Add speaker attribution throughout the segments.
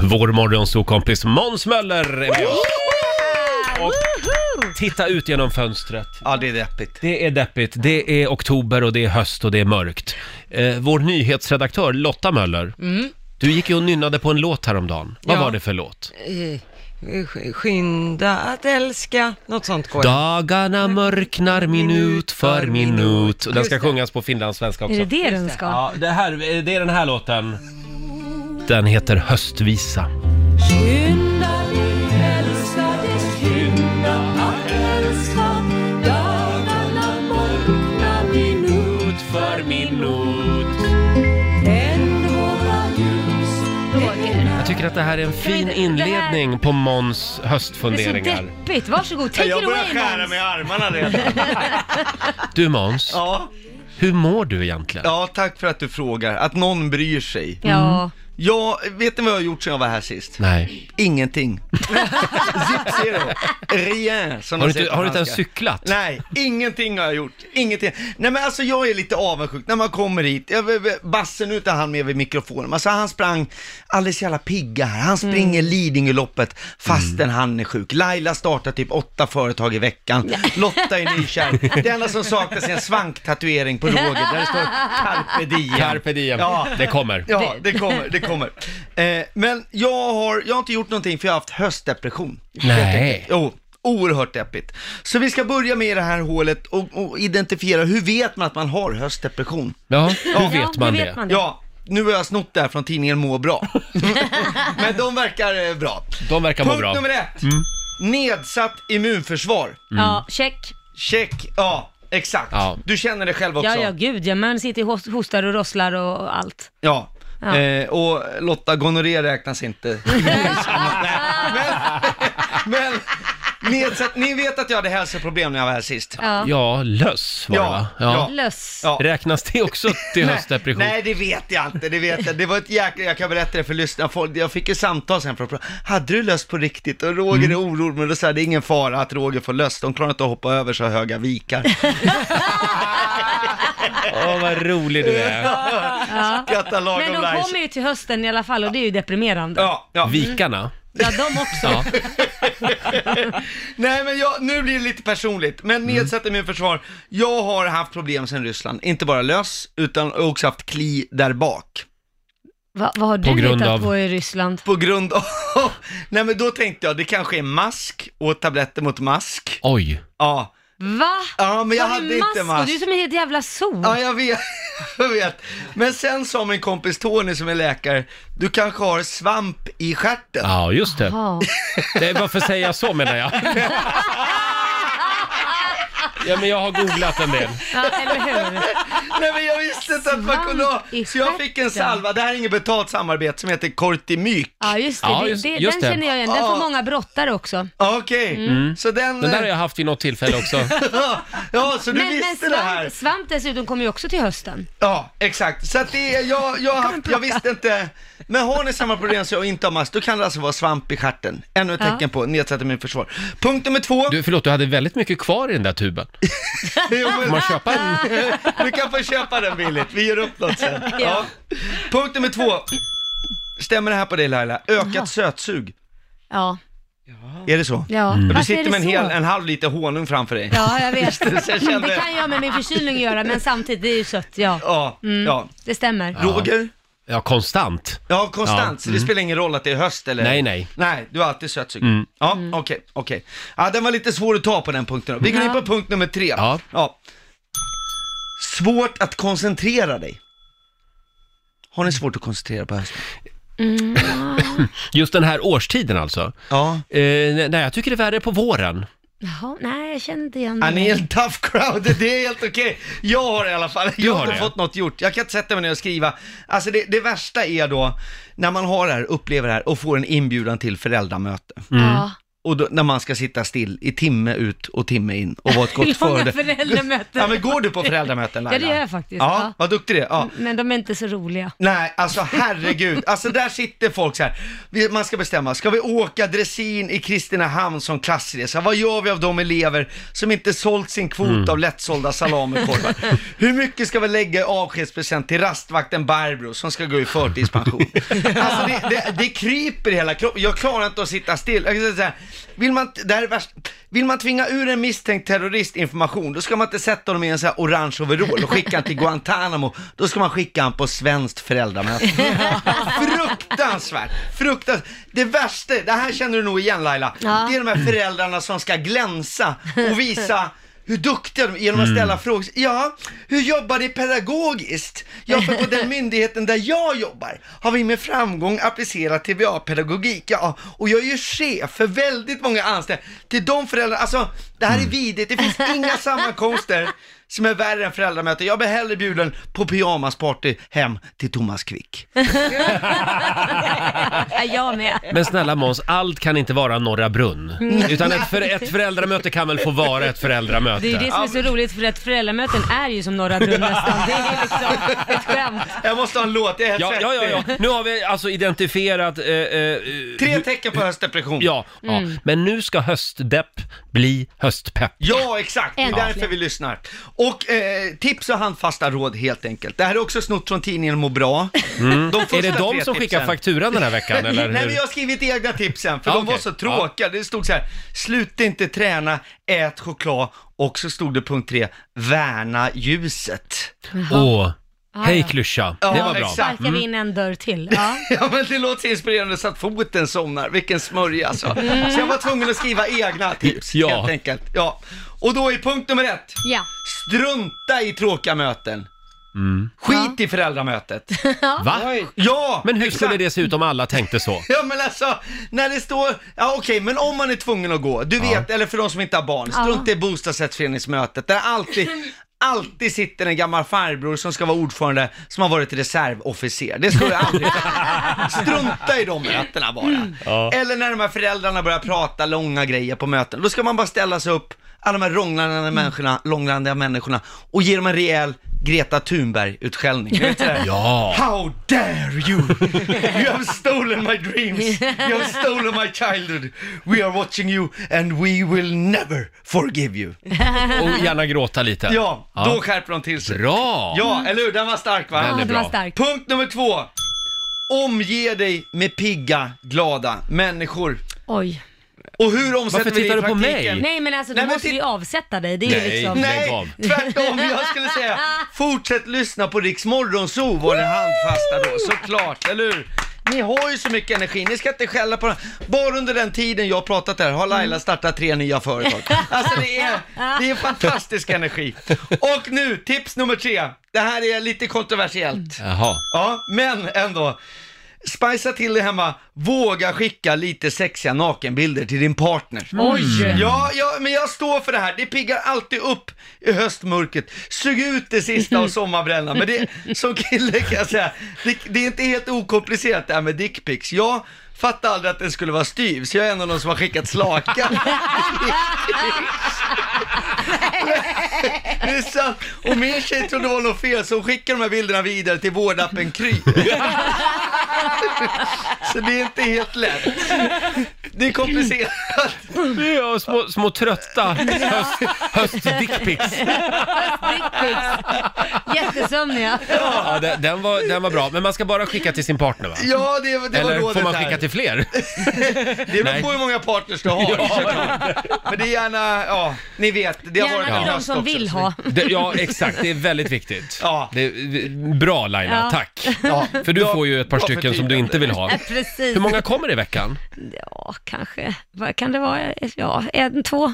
Speaker 1: Vår morgonsokompis Måns Möller är med oss. Och titta ut genom fönstret.
Speaker 2: Ja, det är deppigt.
Speaker 1: Det är deppigt, det är oktober och det är höst och det är mörkt. Eh, vår nyhetsredaktör Lotta Möller, du gick ju och nynnade på en låt häromdagen. Vad
Speaker 3: Ja.
Speaker 1: var det för låt?
Speaker 3: Eh, sk- Skynda att älska, något sånt går det.
Speaker 1: Dagarna mörknar minut för minut. Och Den ska sjungas på finlandssvenska
Speaker 4: Är det
Speaker 1: också.
Speaker 4: det den ska?
Speaker 1: Ja, det, här, eh, det är den här låten. Den heter Höstvisa. Minut för minut. Jag tycker att det här är en fin
Speaker 4: Det här-
Speaker 1: inledning på Måns
Speaker 4: Det är så
Speaker 1: höstfunderingar.
Speaker 4: deppigt, varsågod, take
Speaker 2: Jag
Speaker 4: it
Speaker 2: börjar
Speaker 4: away
Speaker 2: skära
Speaker 4: Måns!
Speaker 2: mig i armarna redan.
Speaker 1: Du Måns,
Speaker 2: Ja.
Speaker 1: hur mår du egentligen?
Speaker 2: ja, tack för att du frågar. Att någon bryr sig.
Speaker 1: Mm.
Speaker 4: Ja,
Speaker 2: Ja, vet ni vad jag har gjort sedan jag var här sist?
Speaker 1: Nej.
Speaker 2: Ingenting. Zip zero. Rien, som
Speaker 1: Har du
Speaker 2: de säger
Speaker 1: inte,
Speaker 2: på
Speaker 1: har du inte ens
Speaker 2: franska.
Speaker 1: cyklat?
Speaker 2: Nej, ingenting har jag gjort. Ingenting. Nej men alltså jag är lite avundsjuk när man kommer hit. Jag, jag- jag- Basse, nu är inte han med vid mikrofonen. Alltså han sprang alldeles jävla pigga här. Han springer Lidingöloppet fastän
Speaker 1: Mm.
Speaker 2: han är sjuk. Laila startar typ åtta företag i veckan. Lotta är nykär. Det enda som saknas är en svanktatuering på Roger där det står carpe diem.
Speaker 1: Carpe diem.
Speaker 2: Ja.
Speaker 1: Det kommer.
Speaker 2: Ja, det kommer, det kommer. Eh, men jag har, jag har inte gjort någonting för jag har haft höstdepression.
Speaker 1: Nej.
Speaker 2: Jo, oerhört deppigt. Så vi ska börja med det här hålet och, och identifiera, hur vet man att man har höstdepression?
Speaker 1: Ja, hur
Speaker 4: Ja,
Speaker 1: vet man
Speaker 4: hur
Speaker 1: det?
Speaker 2: Ja, nu har jag snott det här från tidningen Må bra. Men de verkar eh, bra.
Speaker 1: De verkar må
Speaker 2: Punkt
Speaker 1: bra. Mm.
Speaker 2: nummer ett. Nedsatt immunförsvar.
Speaker 4: ja, check.
Speaker 2: Check, ja. Exakt.
Speaker 1: Ja.
Speaker 2: Du känner det själv också.
Speaker 4: Ja, ja, gud ja, man sitter och host- hostar och rosslar och allt.
Speaker 2: Ja.
Speaker 4: Ja.
Speaker 2: Eh, och Lotta, gonorré räknas inte. men, men nedsatt, ni vet att jag hade hälsoproblem när jag var här sist.
Speaker 4: Ja.
Speaker 1: Ja, löss var det
Speaker 2: Ja,
Speaker 1: va?
Speaker 2: ja.
Speaker 4: Löss.
Speaker 2: Ja.
Speaker 1: Räknas det också till
Speaker 2: Nej,
Speaker 1: höstdepression?
Speaker 2: Nej, det vet jag inte. Det, vet jag. det var ett jäkla... Jag kan berätta det för lyssnarna. Folk- Jag fick ju samtal sen från... Hade du löst på riktigt? Och Roger är orolig, men då sa jag, det är ingen fara att Roger får löst. De klarar inte att hoppa över så höga vikar.
Speaker 1: Åh, vad rolig du är.
Speaker 4: Ja.
Speaker 2: Skratta
Speaker 4: Men
Speaker 2: lagom
Speaker 4: de
Speaker 2: lajs.
Speaker 4: kommer ju till hösten i alla fall och det är ju deprimerande. Ja,
Speaker 2: Ja, ja.
Speaker 1: Vikarna?
Speaker 4: de också.
Speaker 1: Ja.
Speaker 2: Nej men jag, nu blir det lite personligt, men nedsätter min försvar. Jag har haft problem sedan Ryssland, inte bara lös, utan också haft kli där bak.
Speaker 4: Va, vad har
Speaker 1: På
Speaker 4: du
Speaker 1: grund
Speaker 4: hittat
Speaker 1: av-
Speaker 4: på i Ryssland?
Speaker 2: På grund av... Nej men då tänkte jag, det kanske är mask och tabletter mot mask.
Speaker 1: Oj.
Speaker 2: Ja,
Speaker 4: Va?
Speaker 2: ja men jag
Speaker 4: Har du
Speaker 2: hade inte
Speaker 4: mask? Och
Speaker 2: mask.
Speaker 4: Du är som en helt jävla sol.
Speaker 2: Ja, jag vet. jag vet. Men sen sa min kompis Tony som är läkare, du kanske har svamp i stjärten.
Speaker 1: Ja, just det.
Speaker 4: Ja.
Speaker 1: det. Varför säger jag så menar jag? Ja, men jag har googlat en del.
Speaker 4: ja, eller hur?
Speaker 2: Nej men jag visste inte att man
Speaker 4: Svamp
Speaker 2: kunde ha.
Speaker 4: i
Speaker 2: Så jag fick en
Speaker 4: stjärten.
Speaker 2: salva, det här är inget betalt samarbete, som heter Kortimyk.
Speaker 4: Ja, just det.
Speaker 1: Ja,
Speaker 4: det-
Speaker 1: just-
Speaker 4: det,
Speaker 1: just
Speaker 4: den
Speaker 1: det.
Speaker 4: känner jag igen. Den får
Speaker 2: Ja.
Speaker 4: många brottare också.
Speaker 2: Ja, Okej,
Speaker 4: Mm.
Speaker 2: så den...
Speaker 1: Den där har jag haft vid något tillfälle också.
Speaker 2: Ja, så du
Speaker 4: men
Speaker 2: visste
Speaker 4: men
Speaker 2: det här?
Speaker 4: svamp, svamp dessutom kommer ju också till hösten.
Speaker 2: Ja, exakt. Så att det är, jag, jag, har haft, jag visste inte. Men har ni samma problem som jag och inte har mask, då kan det alltså vara svamp i stjärten. Ännu ett
Speaker 4: Ja.
Speaker 2: tecken på nedsatt immunförsvar. Punkt nummer två.
Speaker 1: Du, förlåt, du hade väldigt mycket kvar i den där tuben.
Speaker 2: Jo, men-
Speaker 1: Får man köpa en?
Speaker 2: Du kan få köpa den billigt, vi gör upp något sen. Ja.
Speaker 4: Ja.
Speaker 2: Punkt nummer två. Stämmer det här på dig Laila? Ökat sötsug.
Speaker 4: Ja,
Speaker 2: Är det så?
Speaker 4: ja.
Speaker 2: Mm. Du
Speaker 4: Varför är
Speaker 2: sitter
Speaker 4: det
Speaker 2: med en,
Speaker 4: så?
Speaker 2: hel, en halv liter honung framför dig.
Speaker 4: Ja, jag vet.
Speaker 2: Så jag kände-
Speaker 4: Det kan jag med min förkylning göra, men samtidigt, det är ju sött. Ja,
Speaker 2: Ja,
Speaker 4: Mm.
Speaker 2: ja.
Speaker 4: det stämmer.
Speaker 2: Roger?
Speaker 1: Ja, konstant.
Speaker 2: Ja, konstant.
Speaker 1: Ja, Mm.
Speaker 2: Så det spelar ingen roll att det är höst eller?
Speaker 1: Nej, nej. Mm.
Speaker 2: Nej, du har alltid sötsug. Ja, okej,
Speaker 4: Mm.
Speaker 2: okej. Ja, den var lite svår att ta på den punkten. då. Vi går in
Speaker 4: Ja.
Speaker 2: på punkt nummer tre.
Speaker 1: Ja.
Speaker 2: Svårt att koncentrera dig. Har ni svårt att koncentrera på hösten?
Speaker 4: Mm.
Speaker 1: Just den här årstiden alltså.
Speaker 2: Ja.
Speaker 1: Eh, nej, nej, jag tycker det är värre på våren.
Speaker 4: Jaha, nej, jag känner inte igen
Speaker 2: Ja, ni är
Speaker 4: det.
Speaker 2: en tough crowd, det är helt okej. Jag har i alla fall, jag
Speaker 1: har
Speaker 2: har inte
Speaker 1: det.
Speaker 2: fått något gjort. Jag kan inte sätta mig ner och skriva. Alltså det, det värsta är då, när man har det här, upplever det här och får en inbjudan till föräldramöte.
Speaker 4: Ja.
Speaker 2: Och då, när man ska sitta still i timme ut och timme in och vara ett gott
Speaker 4: Långa
Speaker 2: föredöme.
Speaker 4: föräldramöten.
Speaker 2: Ja men går du på föräldramöten Laila?
Speaker 4: Ja, det gör jag faktiskt,
Speaker 2: Ja,
Speaker 4: ja.
Speaker 2: vad duktig du är. Ja.
Speaker 4: Men de är inte så roliga.
Speaker 2: Nej, alltså herregud. Alltså där sitter folk så här. Vi- Man ska bestämma, ska vi åka dressin i Kristinehamn som klassresa? Vad gör vi av de elever som inte sålt sin kvot av lättsålda salamikorvar? Hur mycket ska vi lägga i avskedspresent till rastvakten Barbro som ska gå i förtidspension? Alltså det, det, det kryper i hela kroppen. Jag klarar inte att sitta still. Jag kan säga så här, vill man, det här är värst. Vill man tvinga ur en misstänkt terrorist information, då ska man inte sätta honom i en sån här orange overall och skicka honom till Guantanamo. Då ska man skicka honom på svenskt föräldramöte. Fruktansvärt! Fruktansvärt! Det värsta, det här känner du nog igen Laila,
Speaker 4: Ja.
Speaker 2: det är de här föräldrarna som ska glänsa och visa hur duktiga de är genom att
Speaker 1: Mm.
Speaker 2: ställa frågor. Ja, hur jobbar ni pedagogiskt? Ja, för på den myndigheten där jag jobbar har vi med framgång applicerat TBA-pedagogik. Ja, och jag är ju chef för väldigt många anställda. Till de föräldrar, alltså det
Speaker 1: Mm.
Speaker 2: här är vidrigt. Det finns inga sammankomster som är värre än föräldramöte. Jag blir hellre bjuden på pyjamasparty hem till Thomas Quick.
Speaker 4: Ja, jag med.
Speaker 1: Men snälla Måns, allt kan inte vara Norra Brunn.
Speaker 2: Mm.
Speaker 1: Utan ett, för, ett föräldramöte kan väl få vara ett
Speaker 4: Det är ju
Speaker 1: föräldramöte?
Speaker 4: det som är så roligt för att föräldramöten är ju som Norra Brunn nästan. Det är liksom ett skämt.
Speaker 2: Jag måste ha en låt, jag är helt
Speaker 1: Ja, ja, ja, ja. Nu har vi alltså identifierat... Eh, eh,
Speaker 2: Tre Mm.
Speaker 1: hur-
Speaker 2: tecken på höstdepression.
Speaker 1: Ja, ja, men nu ska höstdepp bli höstpepp.
Speaker 2: Ja, exakt. Det är
Speaker 4: Äntligen.
Speaker 2: därför vi lyssnar. Och eh, tips och handfasta råd helt enkelt. Det här är också snott från tidningen Må Bra. De första
Speaker 1: Mm. Är det de
Speaker 2: tre
Speaker 1: som skickar
Speaker 2: tipsen-
Speaker 1: fakturan den här veckan eller?
Speaker 2: Nej,
Speaker 1: hur?
Speaker 2: men jag har skrivit egna tipsen, för
Speaker 1: Ja,
Speaker 2: de
Speaker 1: okej.
Speaker 2: var så tråkiga. Det stod så här, sluta inte träna, ät choklad, och så stod det punkt tre, värna ljuset.
Speaker 1: Åh, hej
Speaker 4: ja.
Speaker 1: klyscha.
Speaker 2: Ja,
Speaker 1: det var bra.
Speaker 2: exakt.
Speaker 4: Sparkar vi in en dörr till. Ja.
Speaker 2: Ja men det låter så inspirerande så att foten somnar, vilken smörja alltså. Så jag var tvungen att skriva egna tips
Speaker 1: Ja.
Speaker 2: helt enkelt. Ja. Och då är punkt nummer ett,
Speaker 4: ja.
Speaker 2: strunta i tråkiga möten.
Speaker 1: Mm.
Speaker 2: Skit i föräldramötet.
Speaker 1: Va?
Speaker 2: Ja!
Speaker 1: Men hur
Speaker 2: exakt.
Speaker 1: skulle det se ut om alla tänkte så?
Speaker 2: Ja men alltså, när det står, ja okej, men om man är tvungen att gå, du vet, eller för de som inte har barn, strunt i bostadsrättsföreningsmötet, där alltid, alltid sitter en gammal farbror som ska vara ordförande, som har varit reservofficer. Det ska ju aldrig Strunta i de mötena bara.
Speaker 1: Ja.
Speaker 2: Eller när de här föräldrarna börjar prata långa grejer på möten, då ska man bara ställa sig upp, alla de här långrandiga människorna, långrandiga människorna, och ge dem en rejäl Greta Thunberg-utskällning. Du vet, sådär.
Speaker 1: Ja.
Speaker 2: How dare you! You have stolen my dreams! You have stolen my childhood! We are watching you and we will never forgive you!
Speaker 1: Och gärna gråta lite.
Speaker 2: Ja, då skärper de till sig.
Speaker 1: Bra!
Speaker 2: Ja, eller hur? Den var stark va?
Speaker 1: Den är
Speaker 4: ja, det var
Speaker 1: bra.
Speaker 4: starkt.
Speaker 2: Punkt nummer två. Omge dig med pigga, glada människor.
Speaker 4: Oj.
Speaker 2: Och hur omsätter
Speaker 1: Varför
Speaker 2: vi det
Speaker 1: tittar
Speaker 2: i
Speaker 1: du på mig?
Speaker 2: praktiken?
Speaker 4: Nej men alltså, då
Speaker 2: Nej, men
Speaker 4: måste
Speaker 2: titt-
Speaker 4: vi avsätta dig. Det är
Speaker 1: Nej.
Speaker 4: ju liksom...
Speaker 1: Lägg av.
Speaker 2: Nej, tvärtom. Jag skulle säga, fortsätt lyssna på Riks Morgonzoo, var det handfasta då, såklart, eller hur? Ni har ju så mycket energi, ni ska inte skälla på den. Bara under den tiden jag har pratat här har Laila startat tre nya företag. Alltså det är, det är fantastisk energi. Och nu, tips nummer tre. Det här är lite kontroversiellt.
Speaker 1: Jaha.
Speaker 2: Ja, men ändå. Spicea till det hemma, våga skicka lite sexiga nakenbilder till din partner.
Speaker 4: Oj!
Speaker 2: Ja, ja, men jag står för det här. Det piggar alltid upp i höstmörkret. Sug ut det sista av sommarbrännan. Men det, som kille kan jag säga, det, det är inte helt okomplicerat det här med dickpics. Jag fattade aldrig att den skulle vara styv, så jag är en av de som har skickat slaka. det är sant. Och min tjej trodde det var något fel, så hon skickade de här bilderna vidare till vårdappen Kry. så det är inte helt lätt. Det är komplicerat.
Speaker 1: Ja, små, små trötta höst, höstdickpics.
Speaker 4: Dickpics. Jättesömniga.
Speaker 1: Ja, den, den, var, den var bra. Men man ska bara skicka till sin partner va?
Speaker 2: Ja, det, det var
Speaker 1: Eller
Speaker 2: rådet
Speaker 1: får man
Speaker 2: här.
Speaker 1: skicka till fler?
Speaker 2: Det beror
Speaker 1: Nej.
Speaker 2: på hur många partners du har. såklart. Men det är gärna, ja, ni vet. Det har
Speaker 4: Gärna
Speaker 2: varit
Speaker 4: till
Speaker 2: en
Speaker 4: de
Speaker 2: höst
Speaker 4: som
Speaker 2: också,
Speaker 4: vill
Speaker 2: så
Speaker 4: ha.
Speaker 1: Det, ja, exakt. Det är väldigt viktigt.
Speaker 2: Ja.
Speaker 1: Det, det- bra Laila,
Speaker 4: Ja.
Speaker 1: tack.
Speaker 2: Ja.
Speaker 1: För du
Speaker 2: Bra-
Speaker 1: får ju ett par
Speaker 2: bra
Speaker 1: stycken som du inte vill ha.
Speaker 4: Ja, precis.
Speaker 1: Hur många kommer i veckan?
Speaker 4: Ja, kanske. Vad kan det vara? Ja, en, två.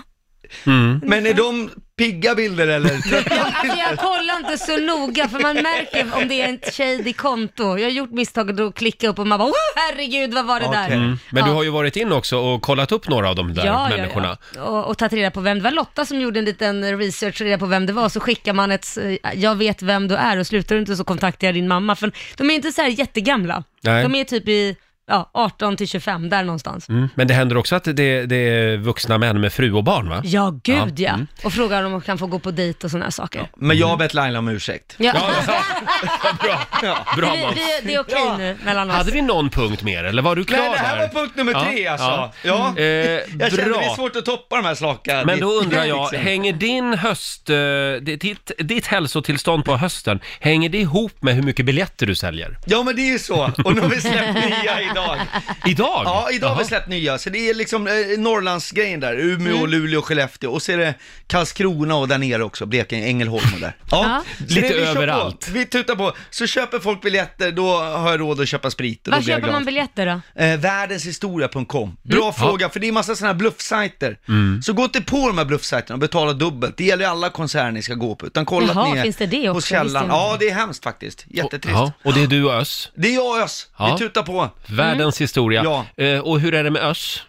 Speaker 2: vi- Men är de pigga bilder eller?
Speaker 4: Alltså jag kollar inte så noga för man märker om det är ett shady konto. Jag har gjort misstaget att klicka upp och man bara oh, herregud vad var det där?
Speaker 2: Okej. Mm.
Speaker 1: Men du
Speaker 4: Ja.
Speaker 1: har ju varit in också och kollat upp några av de där
Speaker 4: Ja,
Speaker 1: människorna.
Speaker 4: ja, ja. Och, och tagit reda på vem det var. Lotta som gjorde en liten research reda på vem det var, så skickar man ett eh, “jag vet vem du är” och slutar du inte så kontaktar jag din mamma. För de är inte så här jättegamla.
Speaker 1: Nej.
Speaker 4: De är typ i ja, 18 till 25, där någonstans.
Speaker 1: Mm. Men det händer också att det, det är vuxna män med fru och barn va?
Speaker 4: Ja, gud
Speaker 1: Ja,
Speaker 4: ja.
Speaker 1: mm.
Speaker 4: Och frågar om de kan få gå på dejt och sådana här saker.
Speaker 2: Men jag har bett Laila om ursäkt.
Speaker 4: Ja.
Speaker 1: Bra, bra
Speaker 4: vi,
Speaker 1: Måns.
Speaker 4: vi, det är okej nu mellan oss.
Speaker 1: Hade vi någon punkt mer eller var du klar
Speaker 2: Nej, det
Speaker 1: där?
Speaker 2: här var punkt nummer tre alltså. Ja.
Speaker 1: Eh,
Speaker 2: Jag känner det är
Speaker 1: bra.
Speaker 2: svårt att toppa de här slaka.
Speaker 1: Men då
Speaker 2: ditt-
Speaker 1: undrar jag,
Speaker 2: liksom.
Speaker 1: hänger din höst, eh, ditt, ditt hälsotillstånd på hösten, hänger det ihop med hur mycket biljetter du säljer?
Speaker 2: Ja men det är ju så, och nu har vi släppt nya idag.
Speaker 1: Idag?
Speaker 2: Ja, idag har
Speaker 1: Jaha.
Speaker 2: vi släppt nya, så det är liksom eh, Norrlandsgrejen där, Umeå, Luleå, Skellefteå och så är det Karlskrona och där nere också, Blekinge, Ängelholm och där. Ja,
Speaker 4: Ja.
Speaker 2: Så
Speaker 1: Lite
Speaker 2: vi kör
Speaker 1: överallt.
Speaker 2: På, vi tutar på, så köper folk biljetter, då har jag råd att köpa sprit och då
Speaker 4: Var
Speaker 2: blir jag
Speaker 4: köper man
Speaker 2: glad.
Speaker 4: biljetter då?
Speaker 2: Eh, världenshistoria.com. Bra fråga, för det är massa sådana här bluffsajter. Så gå inte på de här bluffsajterna och betala dubbelt. Det gäller ju alla konserter ni ska gå på, utan kolla
Speaker 4: Jaha,
Speaker 2: att ni är
Speaker 4: finns det det
Speaker 2: hos
Speaker 4: också?
Speaker 2: källan.
Speaker 4: Visste jag
Speaker 2: Ja, det är hemskt faktiskt. Jättetrist.
Speaker 1: Ja, och det är du och Öss,
Speaker 2: Det är jag och Ös,
Speaker 1: Ja.
Speaker 2: vi tutar på.
Speaker 1: världens historia.
Speaker 2: Mm. Ja.
Speaker 1: Eh, och hur är det med Öss?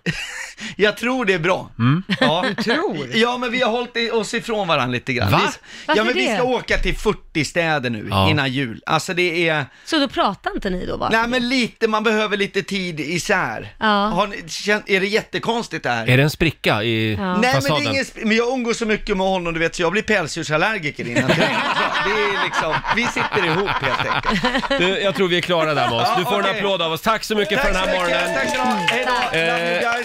Speaker 2: Jag tror det är bra.
Speaker 1: Mm.
Speaker 2: Ja. Du
Speaker 3: tror?
Speaker 2: Ja, men vi har hållit i- oss ifrån varandra lite grann.
Speaker 1: Va?
Speaker 2: Vi, ja,
Speaker 4: Varför
Speaker 2: men vi
Speaker 4: det?
Speaker 2: ska åka till 40 städer nu
Speaker 1: Ja.
Speaker 2: innan jul. Alltså det är,
Speaker 4: Så då pratar inte ni då bara?
Speaker 2: nej men lite, man behöver lite tid isär.
Speaker 4: Ja.
Speaker 2: Har ni, kän- är det jättekonstigt det här?
Speaker 1: Är det en spricka i
Speaker 4: Ja.
Speaker 2: Nej men,
Speaker 1: fasaden?
Speaker 2: det är ingen, sp- men jag umgås så mycket med honom du vet så jag blir pälsdjursallergiker innan det är liksom, vi sitter ihop helt enkelt.
Speaker 1: Du, jag tror vi är klara där Måns. Du får en
Speaker 2: okej.
Speaker 1: applåd av oss. Tack så mycket för den här
Speaker 2: så mycket,
Speaker 1: morgonen.
Speaker 2: tack så mycket.